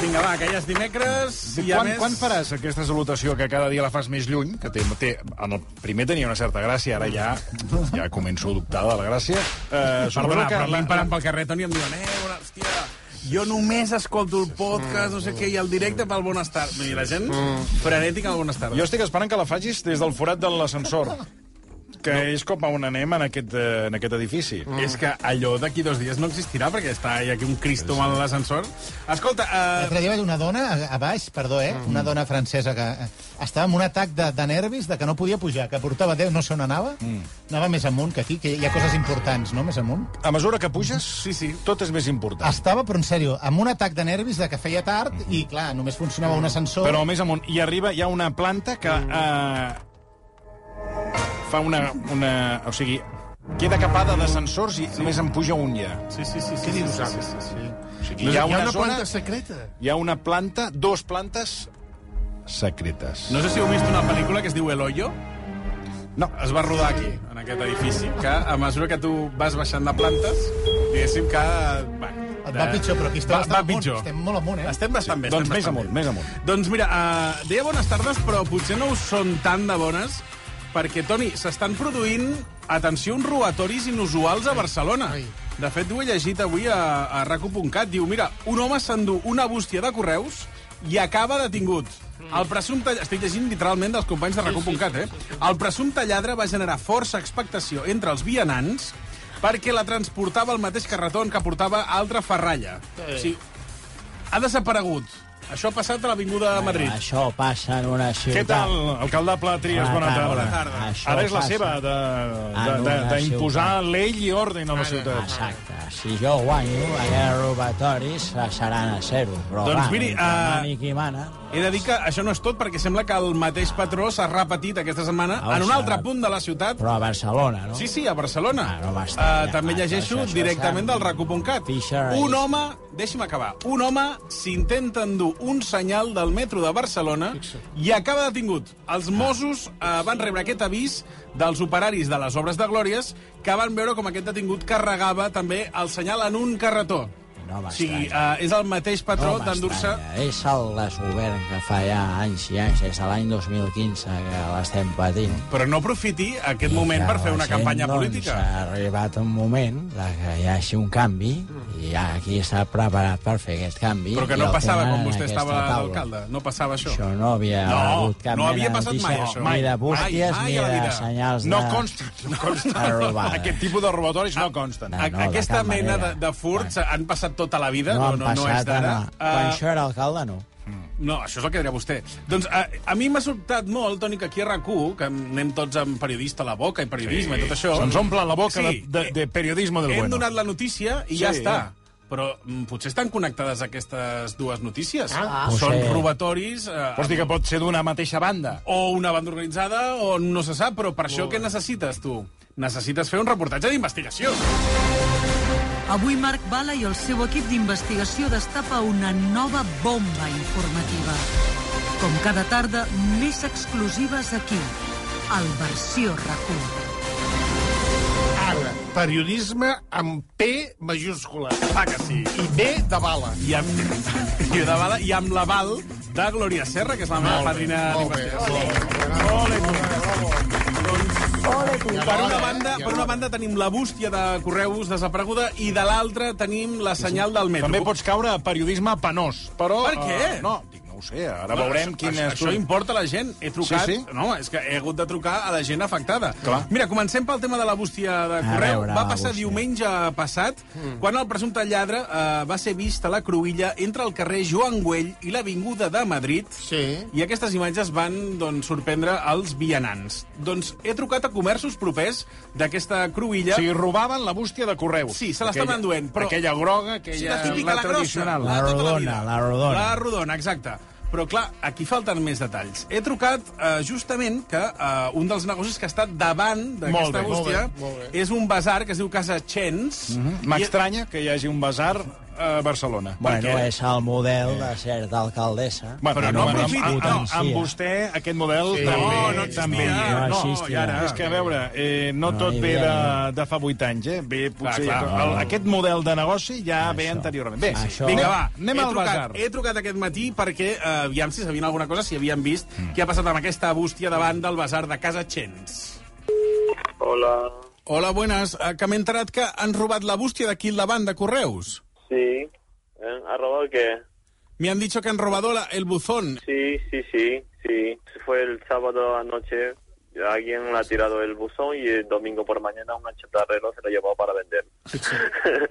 Vinga, va, que ja és dimecres i a Quan, més... quan faràs aquesta salutació que cada dia la fas més lluny? Que té, té, en el primer tenia una certa gràcia, ara ja ja començo a dubtar de la gràcia. Eh, Perdona, Perdona, que però a mi la- em paren pel carrer, Toni, em diuen, eh, bona, hòstia, jo només escolto el podcast, no sé què, i el directe pel Bonestar. Vull dir, la gent frenètica al Bonestar. Mm. Jo estic esperant que la facis des del forat de l'ascensor, que és com a on anem en aquest, eh, en aquest edifici. És que allò d'aquí dos dies no existirà, perquè està hi ha aquí un Cristo sí. en l'ascensor. Escolta, eh, L'altre dia vaig una dona a, a baix, perdó, eh? Mm. Una dona francesa que eh, estava amb un atac de, de nervis de que no podia pujar, que portava 10, no sé on anava. Mm. Anava més amunt que aquí, que hi ha coses importants, no?, més amunt. A mesura que puges, Sí, sí. tot és més important. Estava, però en sèrio, amb un atac de nervis de que feia tard i, clar, només funcionava un ascensor. Mm-hmm. Però més amunt, hi arriba, hi ha una planta que Mm. eh, fa una, una... O sigui, queda capada d'ascensors i només en puja un ja. sí, sí, sí, sí, sí, sí, sí, sí, sí. O sigui, hi ha una, zona, secreta. hi ha una planta, dos plantes secretes. No sé si heu vist una pel·lícula que es diu El Hoyo. No. Es va rodar aquí, en aquest edifici, que a mesura que tu vas baixant de plantes, diguéssim que... Va, Et va pitjor, però aquí estem, va, bastant va amunt, pitjor. estem molt amunt, eh? Estem bastant bé. Doncs estem més bastant amunt, bé. més amunt. Doncs mira, uh, deia bones tardes, però potser no us són tan de bones, perquè, Toni, s'estan produint, atenció, uns robatoris inusuals a Barcelona. Ai. De fet, ho he llegit avui a, a raco.cat. Diu, mira, un home s'endú una bústia de correus i acaba detingut. El presumpte... Estic llegint literalment dels companys de raco.cat, eh? El presumpte lladre va generar força expectació entre els vianants perquè la transportava el mateix carretó en què portava altra ferralla. O sigui, ha desaparegut. Això ha passat a l'Avinguda de Madrid. Això passa en una ciutat... Què tal, alcalde Pla Trias? Bona, Bona tarda. tarda. Bona tarda. Això Ara és la passa. seva, En una d'imposar l'ell i ordre a la ciutat. Exacte. Si jo guanyo, aquests robatoris seran a zero. Però, Doncs va, miri, mentre eh, mani qui mana... He de dir que això no és tot, perquè sembla que el mateix patró s'ha repetit aquesta setmana Ah, en un s'ha- altre punt de la ciutat. Però a Barcelona, no? Sí, sí, a Barcelona. Ah, no va estar Eh, allà. també Ah, llegeixo això- això directament està- del raco.cat. Fisher Un is- home, deixi'm acabar, un home s'intenta endur un senyal del metro de Barcelona i acaba detingut. Els Mossos eh, van rebre aquest avís dels operaris de les obres de Glòries que van veure com aquest detingut carregava també el senyal en un carretó. No o sigui, m'estranya. eh, és el mateix patró d'endur-se... m'estranya. És el desgovern que fa ja anys i anys, des de l'any 2015, que l'estem patint. Però no aprofiti aquest moment Que per fer una la gent, campanya doncs, política. Ha arribat un moment de que hi hagi un canvi i aquí està preparat per fer aquest canvi. Però que i no el passava tenen quan en vostè aquesta estava taula. d'alcalde. No passava això. Això no havia No, hagut cap no mena havia de passat notícia, mai, això. Ni de Mai, bústies, mai ni a la de vida. senyals No de... consta, no de consta. robada. Ah, Aquest tipus de robatoris no consten. No, A- no, de Aquesta cap mena de, manera. Ah. de furts han passat tota la vida, No, no, han no, no és passat... d'ara. no. Quan Eh, això era alcalde, no. No, això és el que diria vostè. Doncs a, a mi m'ha sobtat molt, Toni, que aquí a rac que anem tots amb periodista a la boca i periodisme i tot això... Se'ns omple la boca Sí, Eh, de, de, de periodisme del Hem bueno. donat la notícia i Sí. ja està. Però mm, potser estan connectades aquestes dues notícies. Ah. Són Potser. robatoris... Eh, Vols dir que pot ser d'una mateixa banda? o una banda organitzada o no se sap, però per això què necessites, tu? Necessites fer un reportatge d'investigació. Avui Marc Bala i el seu equip d'investigació destapa una nova bomba informativa. Com cada tarda, més exclusives aquí, al Versió RAC1. Ara, periodisme amb P majúscula Ah, que sí. i B de bala. I amb, i, de bala, i amb l'aval de Glòria Serra, que és la meva padrina d'investigació. Per una, banda, per una banda tenim la bústia de Correus desapareguda i de l'altra tenim la senyal del metro. També pots caure a periodisme penós, però... Per què? eh, no, dic, no no ho sé, ara veurem això, quin això, és... això importa la gent. He trucat... Sí, sí. No, és que he hagut de trucar a la gent afectada. Clar. Mira, comencem pel tema de la bústia de correu. veure, va la passar bústia. diumenge passat, mm. quan el presumpte lladre eh, va ser vist a la Cruïlla entre el carrer Joan Güell i l'Avinguda de Madrid. Sí. I aquestes imatges van doncs, sorprendre els vianants. Doncs he trucat a comerços propers d'aquesta Cruïlla. O sigui, robaven la bústia de correu. Sí, se l'estaven Aquella- enduent, però- Aquella groga, Sí, aquella... la típica, la, grossa. tradicional. de tota La vida. rodona, la rodona. La rodona, exacte. Però, clar, aquí falten més detalls. He trucat eh, justament que eh, un dels negocis que està davant Molt d'aquesta bé, molt bústia bé, molt bé. és un basar que es diu Casa Chens. Mm Mhm. M'estranya que hi hagi un basar a Barcelona. Bueno, perquè- és el model de certa alcaldessa. Bueno, Però però no no, amb, amb, aprofita. amb, amb, Potencia. vostè aquest model sí. també. No, no existia. també. No, No, existia. i ara, és que a veure, eh, no, No, tot hi ve havia de, ningú. de fa 8 anys, eh? Ve potser... clar. el, aquest model de negoci ja ve Això. anteriorment. Bé, Això. vinga, Vinga, va, va, anem he al trucat, basar. He trucat aquest matí perquè, eh, aviam si sabien alguna cosa, si havien vist mm. què ha passat amb aquesta bústia davant del basar de Casa Chens. Hola, Hola, buenas. Eh, Que m'he enterat que han robat la bústia d'aquí al davant de Correus. sí. ¿Eh? ¿Ha robado qué? Me han dicho que han robado la, el buzón. Sí, sí, sí, sí. Fue el sábado anoche. Alguien le ha tirado el buzón y el domingo por mañana un chatarrero se lo llevó para vender.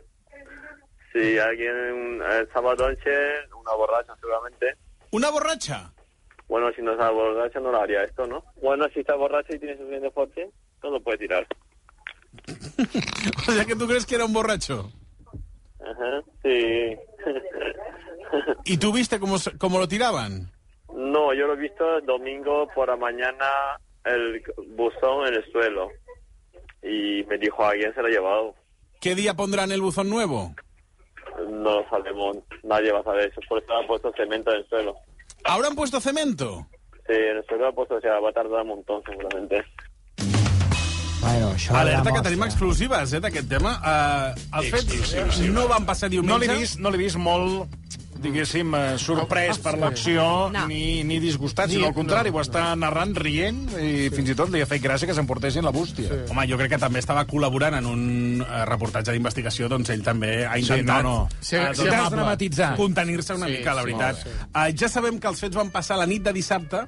sí, alguien el sábado anoche, una borracha seguramente. Una borratxa? Bueno, si no está borracha no lo haría esto, ¿no? Bueno, si está borracha y tiene suficiente fuerte, no lo puede tirar. O sea, que tú crees que era un borracho. Ajá, sí. ¿Y tú viste cómo, se- cómo lo tiraban? No, yo lo he visto el domingo por la mañana el buzón en el suelo. Y me dijo, alguien se lo ha llevado. ¿Qué día pondrán el buzón nuevo? No lo sabemos, nadie va a saber eso. Por eso han puesto cemento en el suelo. ¿Ahora han puesto cemento? Sí, en el suelo han puesto, o sea, va a tardar un montón seguramente. Bueno, això Alerta que demostra- tenim exclusives, eh, d'aquest tema. Uh, els fets no van passar No l'he diumenge. vist, no l'he vist molt diguéssim, eh, sorprès per l'acció No. ni, ni disgustat, sinó al contrari, ho està narrant rient i fins i tot li ha fet gràcia que s'emportessin la bústia. Sí. Home, jo crec que també estava col·laborant en un eh, reportatge d'investigació, doncs ell també ha intentat... no, no. Sí, eh, sí, doncs, desdramatitzar. Contenir-se una Sí, mica, la sí, veritat. sí. Eh, ja sabem que els fets van passar la nit de dissabte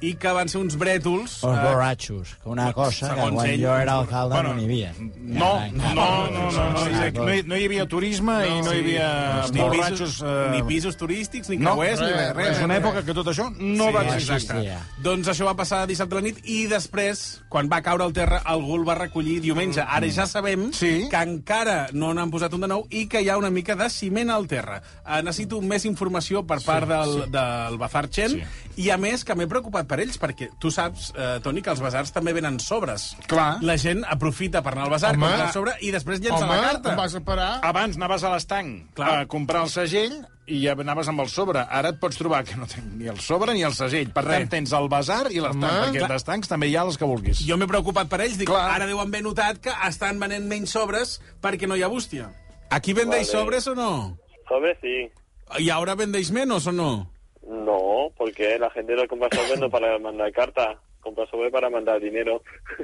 i que van ser uns brètols... Els eh, borratxos, que una cosa que segons quan ell, jo era doncs, alcalde bueno, no n'hi havia. No, no, no, no, no, no, hi- no, hi- no hi havia turisme no, i no hi havia ni borratxos... pisos, ni Eh, pisos turístics, ni no, creuers, ni res. res, és una època que tot això no Sí, va exacte. existir. existia. Doncs això va passar dissabte a la nit i després, quan va caure al terra, algú el va recollir diumenge. Ara ja sabem Sí. que encara no n'han posat un de nou i que hi ha una mica de ciment al terra. Eh, necessito més informació per part del, del Bazar Chen i, a més, que m'he preocupat per ells perquè tu saps, eh, Toni, que els basars també venen sobres. Clar. La gent aprofita per anar al basar, Home. comprar sobre i després llença Home, la carta. on vas a parar? Abans anaves a l'estanc Clar. a comprar el segell i ja anaves amb el sobre. Ara et pots trobar que no tens ni el sobre ni el segell. Per tant, tens el basar i l'estanc, Home. perquè d'estancs també hi ha les que vulguis. Jo m'he preocupat per ells, dic, Clar. ara deuen haver notat que estan venent menys sobres perquè no hi ha bústia. Aquí vendeix Vale. sobres o no? Sobre sí. ¿Y ahora vendéis menos o no? No, porque la gente lo compra sobre no para mandar carta, compra sobre para mandar dinero.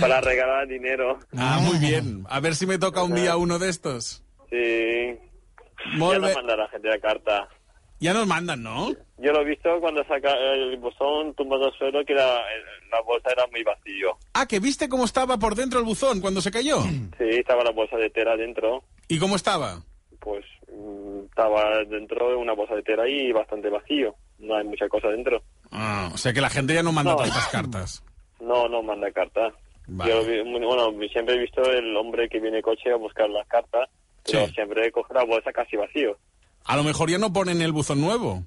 para regalar dinero. Ah, muy bien. A ver si me toca un día uno de estos. Sí. Molt ya no bé. manda la gente la carta. Ya nos mandan, ¿no? Yo lo he visto cuando saca el buzón tumbado al suelo que la, la bolsa era muy vacío. Ah, que viste cómo estaba por dentro el buzón cuando se cayó. Mm. Sí, estaba la bolsa de tela dentro. ¿Y cómo estaba? Pues mm, estaba dentro de una bolsa de tela y bastante vacío. No hay mucha cosa dentro. Ah, o sea que la gente ya no manda No. tantas cartas. No, no manda carta. Vale. Yo vi- bueno, siempre he visto el hombre que viene coche a buscar las cartas, pero Sí. siempre coge la bolsa casi vacío. A lo mejor ya no ponen el buzón nuevo.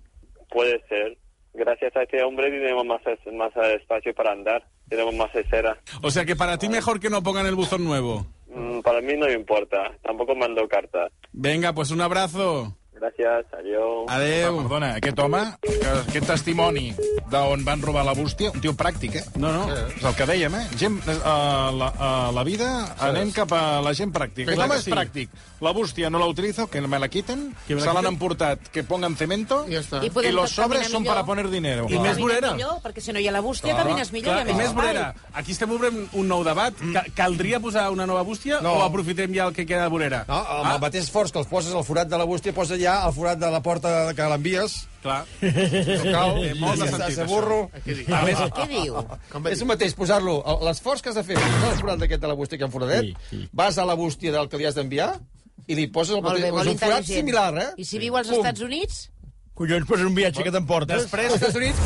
Puede ser. Gracias a este hombre tenemos más, es- más espacio para andar, tenemos más escera. O sea que para ti mejor que no pongan el buzón nuevo. Mm, Para mí no me importa, tampoco mando cartas. Venga, pues un abrazo. Gracias, adiós. Adéu. Perdona, aquest home, que, aquest testimoni d'on van robar la bústia, un tio pràctic, eh? No, no. És el que dèiem, eh? Gent, eh, a la, a la vida anem cap a la gent pràctica. Clar Aquest home que és sí. pràctic. La bústia no la utilizo, que me la quiten, Que me la se l'han quiten. emportat, que pongan cemento, I ja està. I podem y los tot caminar sobres son millor. para poner dinero. I més vorera. Millor, perquè si no hi ha la bústia, camines millor Clar, i I a més vorera. Aquí estem obrint un nou debat. Mm. Ca caldria posar una nova bústia no. o aprofitem ja el que queda de vorera? No, amb ah. el mateix esforç que els poses al forat de la bústia, posa ja allà al forat de la porta que l'envies. Clar. No cal. Té molt de Ja sentit, se burro. això. Què diu? Què diu? És el mateix, posar-lo. L'esforç que has de fer, posar el forat d'aquest de la bústia que han foradet, vas a la bústia del que li has d'enviar i li poses el Molt mateix. bé, molt és un forat intel·ligent. similar, eh? I si viu als Pum. Estats Units? Collons, però és un viatge que t'emportes. Després, als Estats Units...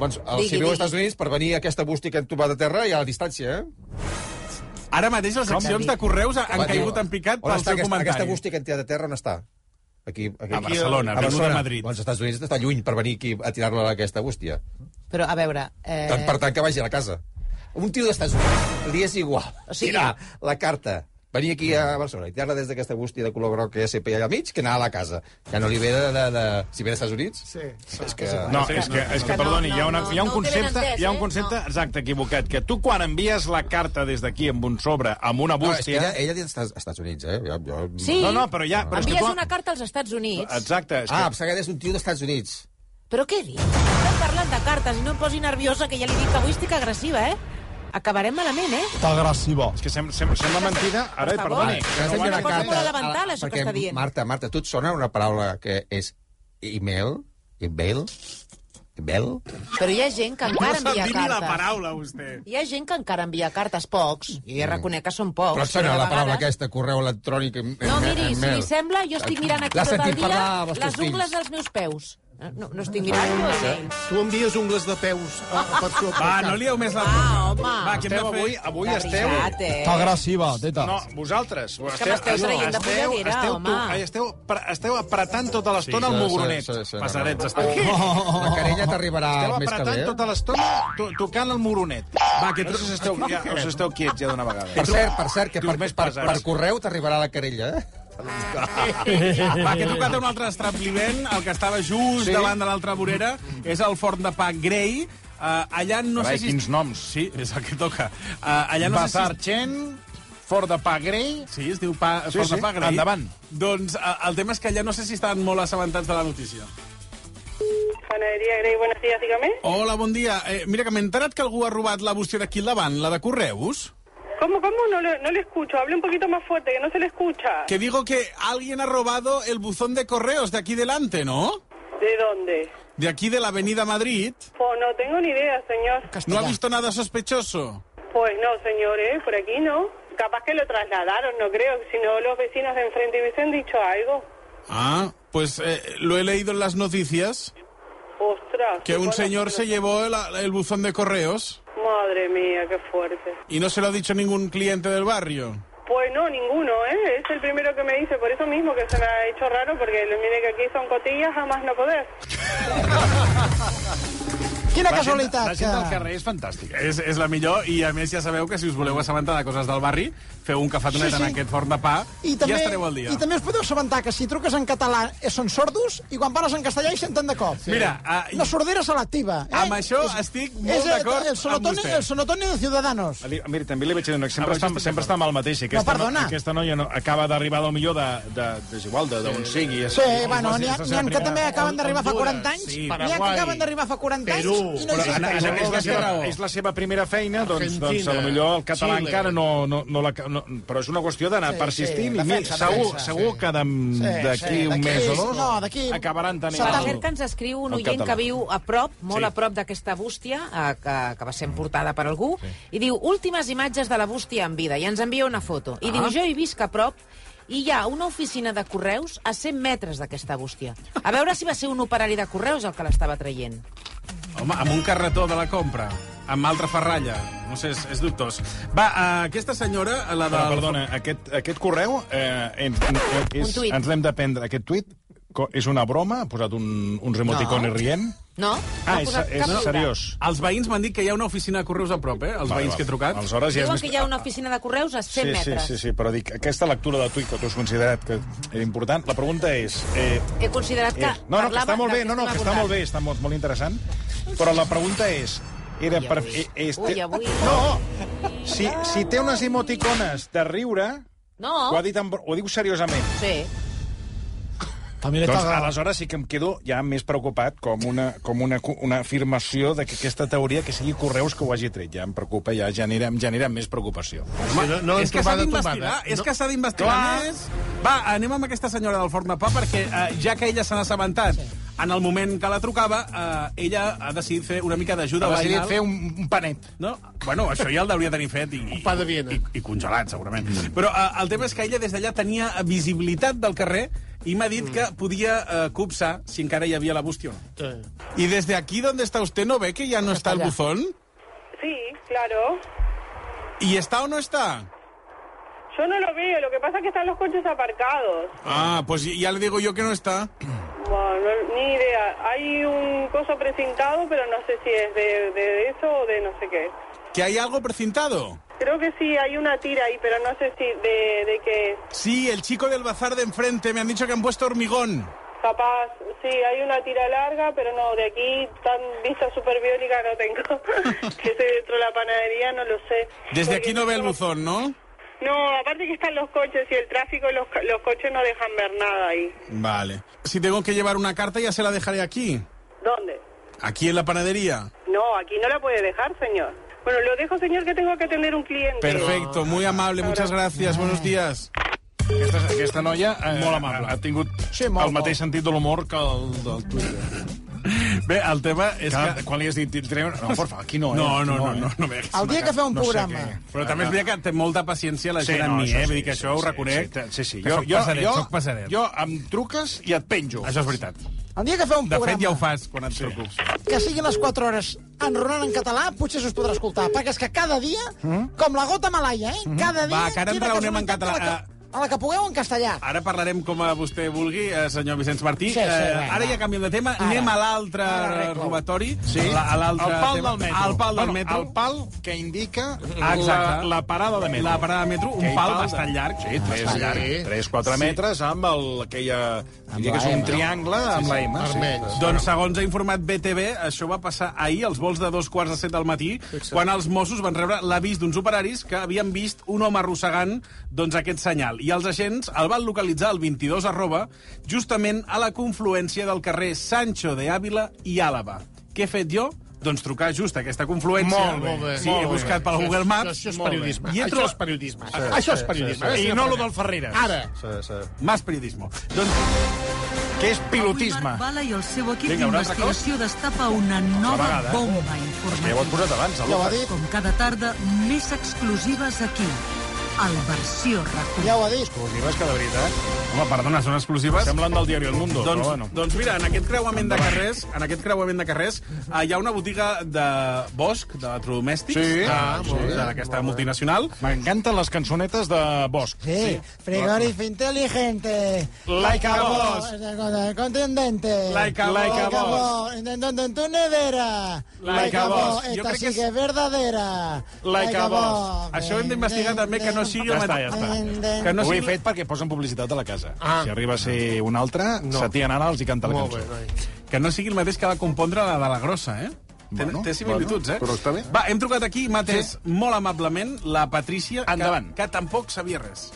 Doncs, el, Digui, si viu digui. als Estats Units, per venir a aquesta bústia que hem topat a terra, hi ha la distància, eh? Ara mateix les seccions de correus han caigut en picat On pel està seu aquesta, comentari. Aquesta bústia que hem tirat a terra, on està? Aquí, aquí, A Barcelona, a venuda Barcelona. a Madrid. Als Estats Units està lluny per venir aquí a tirar-la a aquesta bústia. Però, a veure... Eh... Tant, per tant, que vagi a la casa. Un tio d'Estats Units li és igual. O sigui... Tirar la carta venir aquí a Barcelona i tirar-la des d'aquesta bústia de color groc que ja allà al mig, que anar a la casa. Que no li ve de... de, de... Si ve d'Estats Units... Sí. És que... No, és que, és que perdoni, hi ha, una, hi ha un concepte, hi ha un concepte exacte equivocat, que tu quan envies la carta des d'aquí amb un sobre, amb una No, és que bústia... ella, ella és dels Estats Units, eh? Jo, jo... Sí, No, no, però ja... Però és que envies tu... una carta als Estats Units. Exacte. Ah, em sembla que és un tio d'Estats Units. Però què dius? Estem parlant de cartes i no em posi nerviosa, que ja li dic que avui estic agressiva, eh? Acabarem malament, eh? Està agressiva. És que sem sem sembla mentida. Ara, Per favor. perdoni. Ah, que Has no enviat ho una han- cosa carta molt elemental, a- això que perquè, està dient. Marta, Marta, tu et sona una paraula que és email? Email? Email? Oh, Però hi ha gent que encara sap envia dir ni cartes. la paraula, vostè. eh. Hi ha gent que encara envia cartes, pocs. Jo ja reconec que són pocs. Mm. Però et sona de la paraula vegades- aquesta, correu electrònic, em- No, em- miri, si email? li sembla, jo estic mirant aquí L'has tot el sentit dia parlar amb els teus les ungles fills. dels meus peus. Eh, No, no estic mirant jo. eh? Tu envies ungles de peus a, per sobre. Va, no lieu més la... Ah, home. Va, que hem de Esteu fer... avui, avui De esteu... veritat, eh? Està agressiva, teta. No, vosaltres. És que m'esteu traient de polleguera, esteu, home. tu- ai, esteu, pre- esteu apretant tota l'estona Sí, el sí, mogronet. sí, sí, sí, Passerets, no. Oh, esteu... La querella t'arribarà Esteu més que apretant bé. tota l'estona to tocant el moronet. Va, que No sé tro- si esteu, ja, us esteu quiets ja d'una vegada. Per cert, per cert, que per, Dius més per, pesats. per correu t'arribarà la querella, eh? Va, que he trucat a un altre estrapliment, el que estava just Sí? sí? davant de l'altra vorera, és el forn de pa Grey. Uh, allà no Carai, sé si... quins noms. Sí, és el que toca. Uh, allà no sé Bazar si... Chen, Ford de Pa Grey... Sí, es diu pa, Sí, forn sí, de pa Grey. endavant. Doncs uh, el tema és que allà no sé si estaven molt assabentats de la notícia. Panadería Grey, buenos días, dígame. Hola, bon dia. Eh, mira, que m'he enterat que algú ha robat la bústia d'aquí al davant, la de Correus. ¿Cómo, cómo? No le, no le escucho. Hable un poquito más fuerte, que no se le escucha. Que digo que alguien ha robado el buzón de correos de aquí delante, ¿no? ¿De dónde? De aquí de la avenida Madrid. Pues no tengo ni idea, señor. ¿No ha visto nada sospechoso? Pues no, señor, ¿eh? Por aquí no. Capaz que lo trasladaron, no creo. Si no, los vecinos de enfrente hubiesen dicho algo. Ah, pues eh, lo he leído en las noticias, Ostras. que un bueno, señor se llevó el, el buzón de correos Madre mía, qué fuerte. y no se lo ha dicho ningún cliente del barrio. Pues no, ninguno, ¿eh? Es el primero que me dice, por eso mismo que se me ha hecho raro, porque mire que aquí son cotillas, jamás no poder. La Quina gent- casualitat. La gent del carrer és fantàstica. És, és la millor i, a més, ja sabeu que si us voleu assabentar de coses del barri, feu un cafetonet Sí, sí. en aquest forn de pa I també, ja estareu al dia. I també us podeu assabentar que si truques en català eh, són sordos i quan parles en castellà hi senten de cop. Mira, ah, i- La sordera selectiva. Eh? Amb això estic molt és el- d'acord el sonotone- amb vostè. El sonotone de Ciudadanos. Li- Mira, també li vaig dir, una cosa, Ah, sempre, però està, això està sempre està amb el mateix. i No, Aquesta, perdona. No, aquesta noia no, acaba d'arribar, del millor, de, de, desigual, de- d'on sigui. Sí, bueno, n'hi ha, n'hi ha que també acaben d'arribar fa 40 anys, Sí, n'hi ha que Paraguai, acaben d'arribar fa 40 anys Perú. i no Però, en, en, és, la existeixen. seva, és la seva primera feina, doncs, doncs a lo millor el català Xile. encara no, no, no, la, no... Però és una qüestió d'anar Sí, sí, sí, persistint. Sí, defensa, defensa, segur, defensa, segur que d'am- Sí, sí, d'aquí un d'aquí- mes o dos no, d'aquí- acabaran tenint... Per el- cert que ens escriu un el oient català. que viu a prop, molt Sí. a prop d'aquesta bústia, eh, que, que va ser emportada per algú, i diu, últimes imatges de la bústia en vida, i ens envia una foto. I Ah. diu, jo hi visc a prop, i hi ha una oficina de correus a 100 metres d'aquesta bústia. A veure si va ser un operari de correus el que l'estava traient. Home, amb un carretó de la compra, amb altra ferralla. No sé, és, és dubtós. Va, eh, aquesta senyora, la de... Però, perdona, aquest, aquest correu eh, ens, eh, és, tuit. ens l'hem de prendre. Aquest tuit co- és una broma? Ha posat un, uns emoticonis No. rient? No? Ah, No ha és, posat cap és lliure. seriós. Els veïns m'han dit que hi ha una oficina de correus a prop, eh? Els Vale, veïns vale. que he trucat. Aleshores ja és Diuen més... que hi ha una oficina de correus a 100 Sí, sí, metres. sí, sí, però dic, aquesta lectura del tuit que tu has considerat que era important, la pregunta és... Eh, He considerat que eh, no, no, que parlava està molt bé, del no, no, estem que està abordant. molt bé, està molt, molt interessant, però la pregunta és... Era Ui, per... avui. eh, eh, Ui, avui. No! Si, si té unes emoticones de riure, No, ho, ha dit amb... ho diu seriosament. sí. També li doncs, toca- aleshores sí que em quedo ja més preocupat com una, com una, cu- una afirmació de que aquesta teoria que sigui Correus que ho hagi tret. Ja em preocupa, ja genera, em genera més preocupació. Home, no, no és que s'ha d'investigar, és que s'ha d'investigar Clar. més. Va, anem amb aquesta senyora del Forn de Pa, perquè eh, ja que ella se n'ha assabentat en el moment que la trucava, eh, ella ha decidit fer una mica d'ajuda Ha decidit veïnal. fer un- un panet. No? Bueno, això ja el deuria tenir fet. I, un pa de Viena. I, i congelat, segurament. Mm. Però eh, el tema és que ella des d'allà tenia visibilitat del carrer i m'ha dit que podia eh, copsar si encara hi havia la bústia o no. I des de aquí donde está usted no ve que ya no está el buzón? Sí, claro. ¿Y está o no está? Yo no lo veo, lo que pasa es que están los coches aparcados. Ah, pues ya le digo yo que no está. Bueno, no- ni idea. Hay un coso precintado, pero no sé si es de, de eso o de no sé qué. ¿Que hay algo precintado? Creo que sí, hay una tira ahí, pero no sé si de, de qué es. Sí, el chico del bazar de enfrente. Me han dicho que han puesto hormigón. Capaz, sí, hay una tira larga, pero no, de aquí tan vista superbiólica no tengo. que estoy dentro de la panadería, no lo sé. Desde Porque aquí no ve el buzón, ¿no? No, aparte que están los coches y el tráfico, los, co- los coches no dejan ver nada ahí. Vale. Si tengo que llevar una carta ya se la dejaré aquí. ¿Dónde? Aquí en la panadería. No, aquí no la puede dejar, señor. Bueno, lo dejo, señor, que tengo que atender un cliente. Perfecto, muy amable. Muchas gracias. Buenos días. Aquesta, aquesta noia eh, molt amable. ha tingut sí, molt, el mateix sentit de l'humor que el del Twitter. Bé, el tema és que... Quan li has dit... "Tirem-" No, porfa, aquí no, eh? No, no, Aquí no, no, no, eh? El dia que feu un programa... Però també és veritat que té molta paciència la Ah. Sí, gent no, amb mi, això eh? sí, Vull dir que sí, això ho sí, reconec. sí, sí, sí. Que Jo- sóc jo- passadet, jo- sóc passadet. Jo em truques i et penjo. Això és veritat. El dia que feu un De programa fet, ja ho fas quan et truco. que siguin les 4 hores enronant en català, potser se us podrà escoltar, perquè és que cada dia, com la gota malaia, eh? Cada dia... Va, que ara en queda raonem en casualitat de la català. que- A la que pugueu en castellà. Ara parlarem com a vostè vulgui, eh, senyor Vicenç Martí. Sí, sí, eh, vinga. ara ja canviem de tema. Ara. Anem a l'altre robatori. La- A el l'altre pal tema. del metro. Al pal del bueno, metro. El pal que indica la, Ah, exacte. la parada de metro. La parada de metro, un Aquell pal de- bastant llarg. Sí, tres, Bastant llarg. sí. 3-4 Sí. metres amb el, aquella... Diria la que és un M. triangle amb la M. sí. Doncs, segons ha informat BTV, això va passar ahir als vols de dos quarts de set del matí, quan els Mossos van rebre l'avís d'uns operaris que havien vist un home arrossegant doncs, aquest senyal. I els agents el van localitzar al 22 arroba, justament a la confluència del carrer Sancho de Ávila i Àlava. Què he fet jo? Doncs trucar just a aquesta confluència. Molt bé, molt bé. Sí, Molt he bé. buscat pel Això és- Google Maps. això és Molt bé. periodisme. I he Això trobat- és periodisme. Això és periodisme. A veure si I no lo l'aprenem. del Ferreres. Ara. Sí, sí. Más periodismo. Doncs, què és pilotisme? Bala i el seu equip Vinga, un altre d'investigació destapa una nova vegada, eh? bomba ja ho has posat abans, informativa. Ja ho ha dit. Com cada tarda, més exclusives aquí, al Versió RAC1. Ja ho ha dit. Exclusives que de veritat... Home, perdona, són exclusives. Semblen del diari El Mundo, doncs, però bueno. Doncs mira, en aquest creuament de carrers, en aquest creuament de carrers, eh, hi ha una botiga de Bosch, d'electrodomèstics, Sí. de- Ah, molt bé. de- d'aquesta multinacional. M'encanten les cançonetes de Bosch. Sí, frigorífico inteligente. Like a boss. Contundente. Like a boss. En, en- en tu nevera. Like a boss. Jo Esta crec sí que que és- és... verdadera. Like a boss. Això ho hem d'investigar també, que no sigui... Ja la està, ja mate- està. Que no Ho he sigui... fet perquè posen publicitat de la casa. Ah. Si arriba a ser un altre, No. Satya Nara els hi canta la Molt cançó. Bé, Que no sigui el mateix que va compondre la de la grossa, eh? Bueno, té similituds, eh? però està bé. Va, hem trucat aquí, m'ha atès molt amablement la Patrícia, que, Endavant. que tampoc sabia res.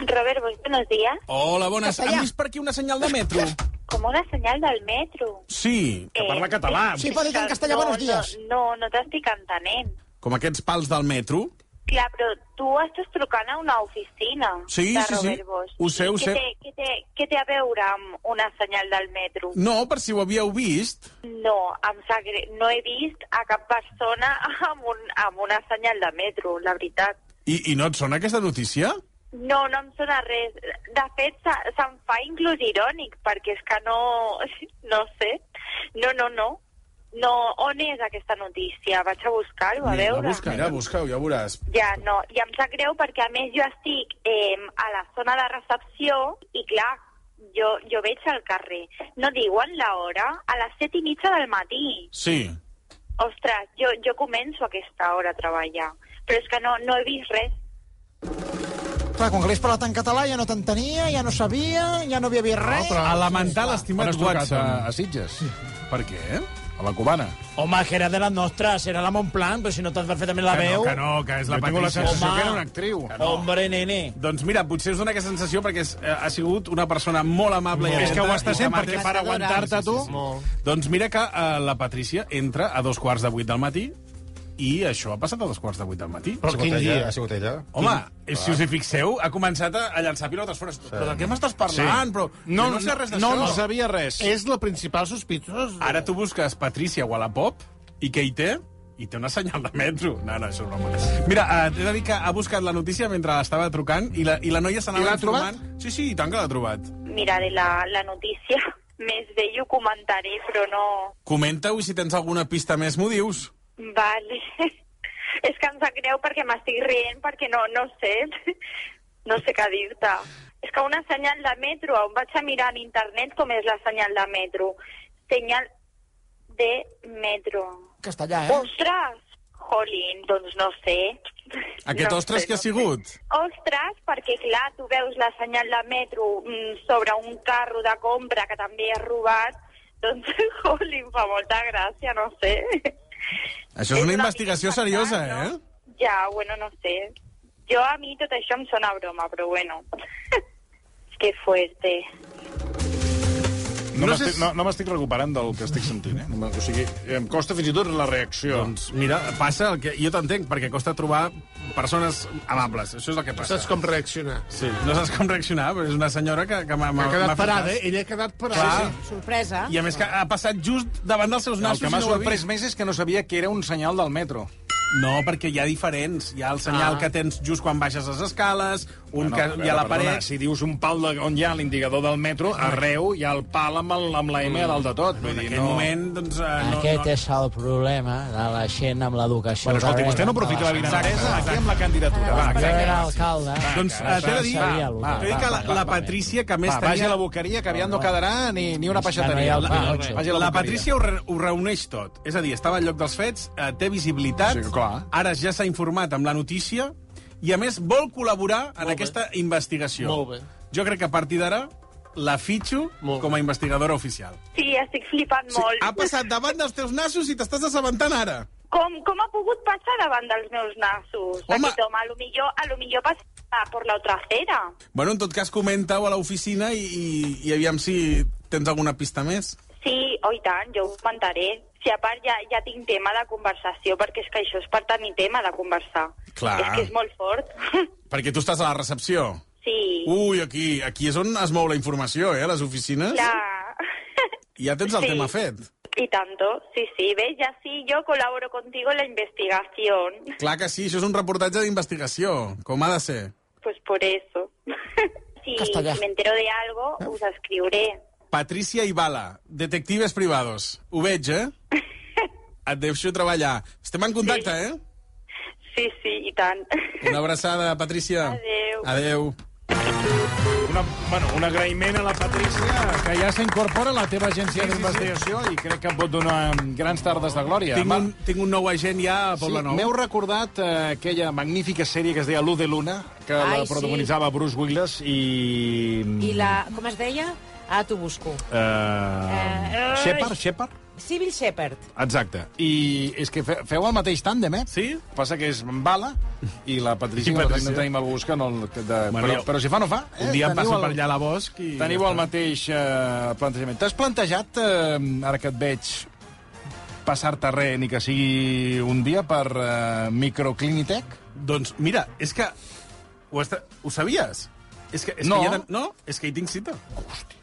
Robert, muy buenos días. Hola, bones. Castellà. Hem vist per aquí una senyal de metro. Como una señal del metro. Sí, que Eh, parla català. sí, però dic en castellà, no, buenos días. No, no, no t'estic entenent. Com aquests pals del metro. Clar, però tu estàs trucant a una oficina Sí, de sí, sí. Robert Bosch. Ho sé, ho Què sé. Té, què, té, què té a veure amb una senyal del metro? No, per si ho havíeu vist. No, em sap greu. No he vist a cap persona amb, un, amb una senyal de metro, la veritat. I, I no et sona aquesta notícia? No, no em sona res. De fet, se- se'm fa inclús irònic, perquè és que no... No sé. No, no, no. No, on és aquesta notícia? Vaig a buscar-ho, a veure. busca, mira, busca ja ho veuràs. Ja, no. I em sap greu perquè, a més, jo estic eh, a la zona de recepció i, clar, jo, jo veig al carrer. No diuen l'hora? A les set i mitja del matí. Sí. Ostres, jo, jo començo a aquesta hora a treballar. Però és que no, no he vist res. Clar, com que l'has parlat en català ja no t'entenia, ja no sabia, ja no havia vist res. Doncs a lamentar eh? l'estimat Quan has trucat Watson. a- a eh, Sitges? Eh? Per què? A la cubana. Home, que era de les nostres, era la Montplan, però si no t'has perfectament la Que no, veu... que no, que és la Jo tinc Patricia. sensació que era una actriu. Hombre, nene. Doncs mira, potser us dona aquesta sensació perquè és, eh, ha sigut una persona molt amable. Molt. i És que ho atenta, està i eh, sent, amable. perquè per aguantar-te tu- Molt. Doncs mira que eh, la Patricia entra a dos quarts de vuit del matí i això ha passat a dos quarts de vuit del matí. Però Ha sigut quin ella, dia? ha sigut ella. Home, Quin- si us hi fixeu, ha començat a, a llançar pilotes fora. Però de què m'estàs parlant? Sí. Però, No, no, no sé res no, d'això. no en sabia res. És la principal sospitosa. Ara tu busques Patricia Wallapop i què hi té? I té una senyal de metro. No, no, això és broma. Mira, eh, t'he de dir que ha buscat la notícia mentre estava trucant i la, i la noia I s'anava l'ha trobat? informant. Sí, sí, i tant que l'ha trobat. Miraré la, la notícia més bé i ho comentaré, però no... Comenta-ho i si tens alguna pista més m'ho dius. Vale. És que em sap greu perquè m'estic rient, perquè no, no sé, no sé què dir-te. És que una senyal de metro, on vaig a mirar en internet com és la senyal de metro. Senyal de metro. Castellà, eh? Ostres! Jolín, doncs no sé. Aquest No ostres sé, que ha no sé. sigut? Ostres, perquè clar, tu veus la senyal de metro mm, sobre un carro de compra que també és robat, doncs, joli, em fa molta gràcia, no sé. Això és una investigació seriosa, eh? Ja, bueno, no sé. Jo a mi tot això em sona a broma, però bueno. que fuerte. No, No no sé m'estic si- no, no m'estic recuperant del que estic sentint, eh? No me- O sigui, em costa fins i tot la reacció. Doncs mira, passa el que... Jo t'entenc, perquè costa trobar persones amables. Això és el que No passa. saps com reaccionar. Sí, no saps com reaccionar, però és una senyora que, que m'ha... Ha m'ha- m'ha quedat fet parada, cas. eh? Ella ha quedat Clar. parada. Sorpresa. I a més que ha passat just davant dels seus El nassos que m'ha i no ho ha sorprès vist. més és que no sabia que era un senyal del metro. No, perquè hi ha diferents. Hi ha el senyal Ah. que tens just quan baixes les escales, un que hi ha la Perdona, paret... si dius un pal de, on hi ha l'indicador del metro, arreu hi ha el pal amb, el, amb la M a dalt de tot. Vull En dir, aquell no... moment, doncs... eh, no, Aquest és el problema de la gent amb l'educació. Bueno, escolti, de vostè no rere, aprofita de la vinentesa aquí amb la candidatura. Va, Jo que- era alcalde. Doncs eh, t'he de dir, Sabia el va, que- t'he de dir que la, la Patrícia, que a més Va, vagi a la boqueria, que aviat no quedarà ni, ni una hi ha peixateria. el Va, Pinotxo. vagi a la la boqueria. Patrícia ho, re ho reuneix tot. És a dir, estava al lloc dels fets, eh, té visibilitat, Sí, clar. ara ja s'ha informat amb la notícia i, a més, vol col·laborar en aquesta investigació. Molt bé. Jo crec que a partir d'ara la fitxo com a investigadora oficial. Sí, estic flipant molt. ha passat davant dels teus nassos i t'estàs assabentant ara. Com, com ha pogut passar davant dels meus nassos? Home. Aquest home, a lo millor, a lo millor passa per la otra acera. Bueno, en tot cas, comenta-ho a l'oficina i, i, i aviam si tens alguna pista més. Sí, oi tant, jo ho comentaré. Si a part ja, ja tinc tema de conversació, perquè és que això és per tenir tema de conversar. Clar. És que és molt fort. Perquè tu estàs a la recepció. sí, Ui, aquí, aquí és on es mou la informació, eh, a les oficines. clar. I ja tens el Sí. tema fet. Y tanto, sí, sí, ves, ya sí, yo colaboro contigo en la investigación. Clar que sí, això és un reportatge d'investigació, com ha de ser. Pues por eso. si, Castellà. si me entero de algo, os escriuré. Patricia Ibala, detectives privados. Ho veig, eh? Et deixo treballar. Estem en contacte, eh? Sí, sí, i tant. Una abraçada, Patricia. Adéu. Adéu. Una, bueno, un agraïment a la Patrícia, que ja s'incorpora a la teva agència Sí, sí, sí. d'investigació i crec que em pot donar um, grans tardes de glòria. Tinc Va- un, tinc un nou agent ja a Poble Sí, Nou. M'heu recordat eh, aquella magnífica sèrie que es deia Luz de Luna, que Ai, la sí. protagonitzava Bruce Willis i... I la... Com es deia? Ah, t'ho busco. Eh, Eh, Shepard, ai. Shepard? Civil Shepherd. Exacte. I és que fe- feu el mateix tàndem, eh? Sí. Passa que és en Bala i la Patricia, I I Patricia. Patricia. no tenim el gust que no... el- Que de, Bueno, bueno, però, però si fa, no fa. Un dia em Teniu passo per allà a la Bosch i... Teniu el mateix eh, plantejament. T'has plantejat, eh, ara que et veig, passar-te res, ni que sigui un dia, per eh, Microclinitec? Doncs mira, és que... Ho, està... ho sabies? És que, és No. Que hi ha de... No, és que hi tinc cita. Hòstia.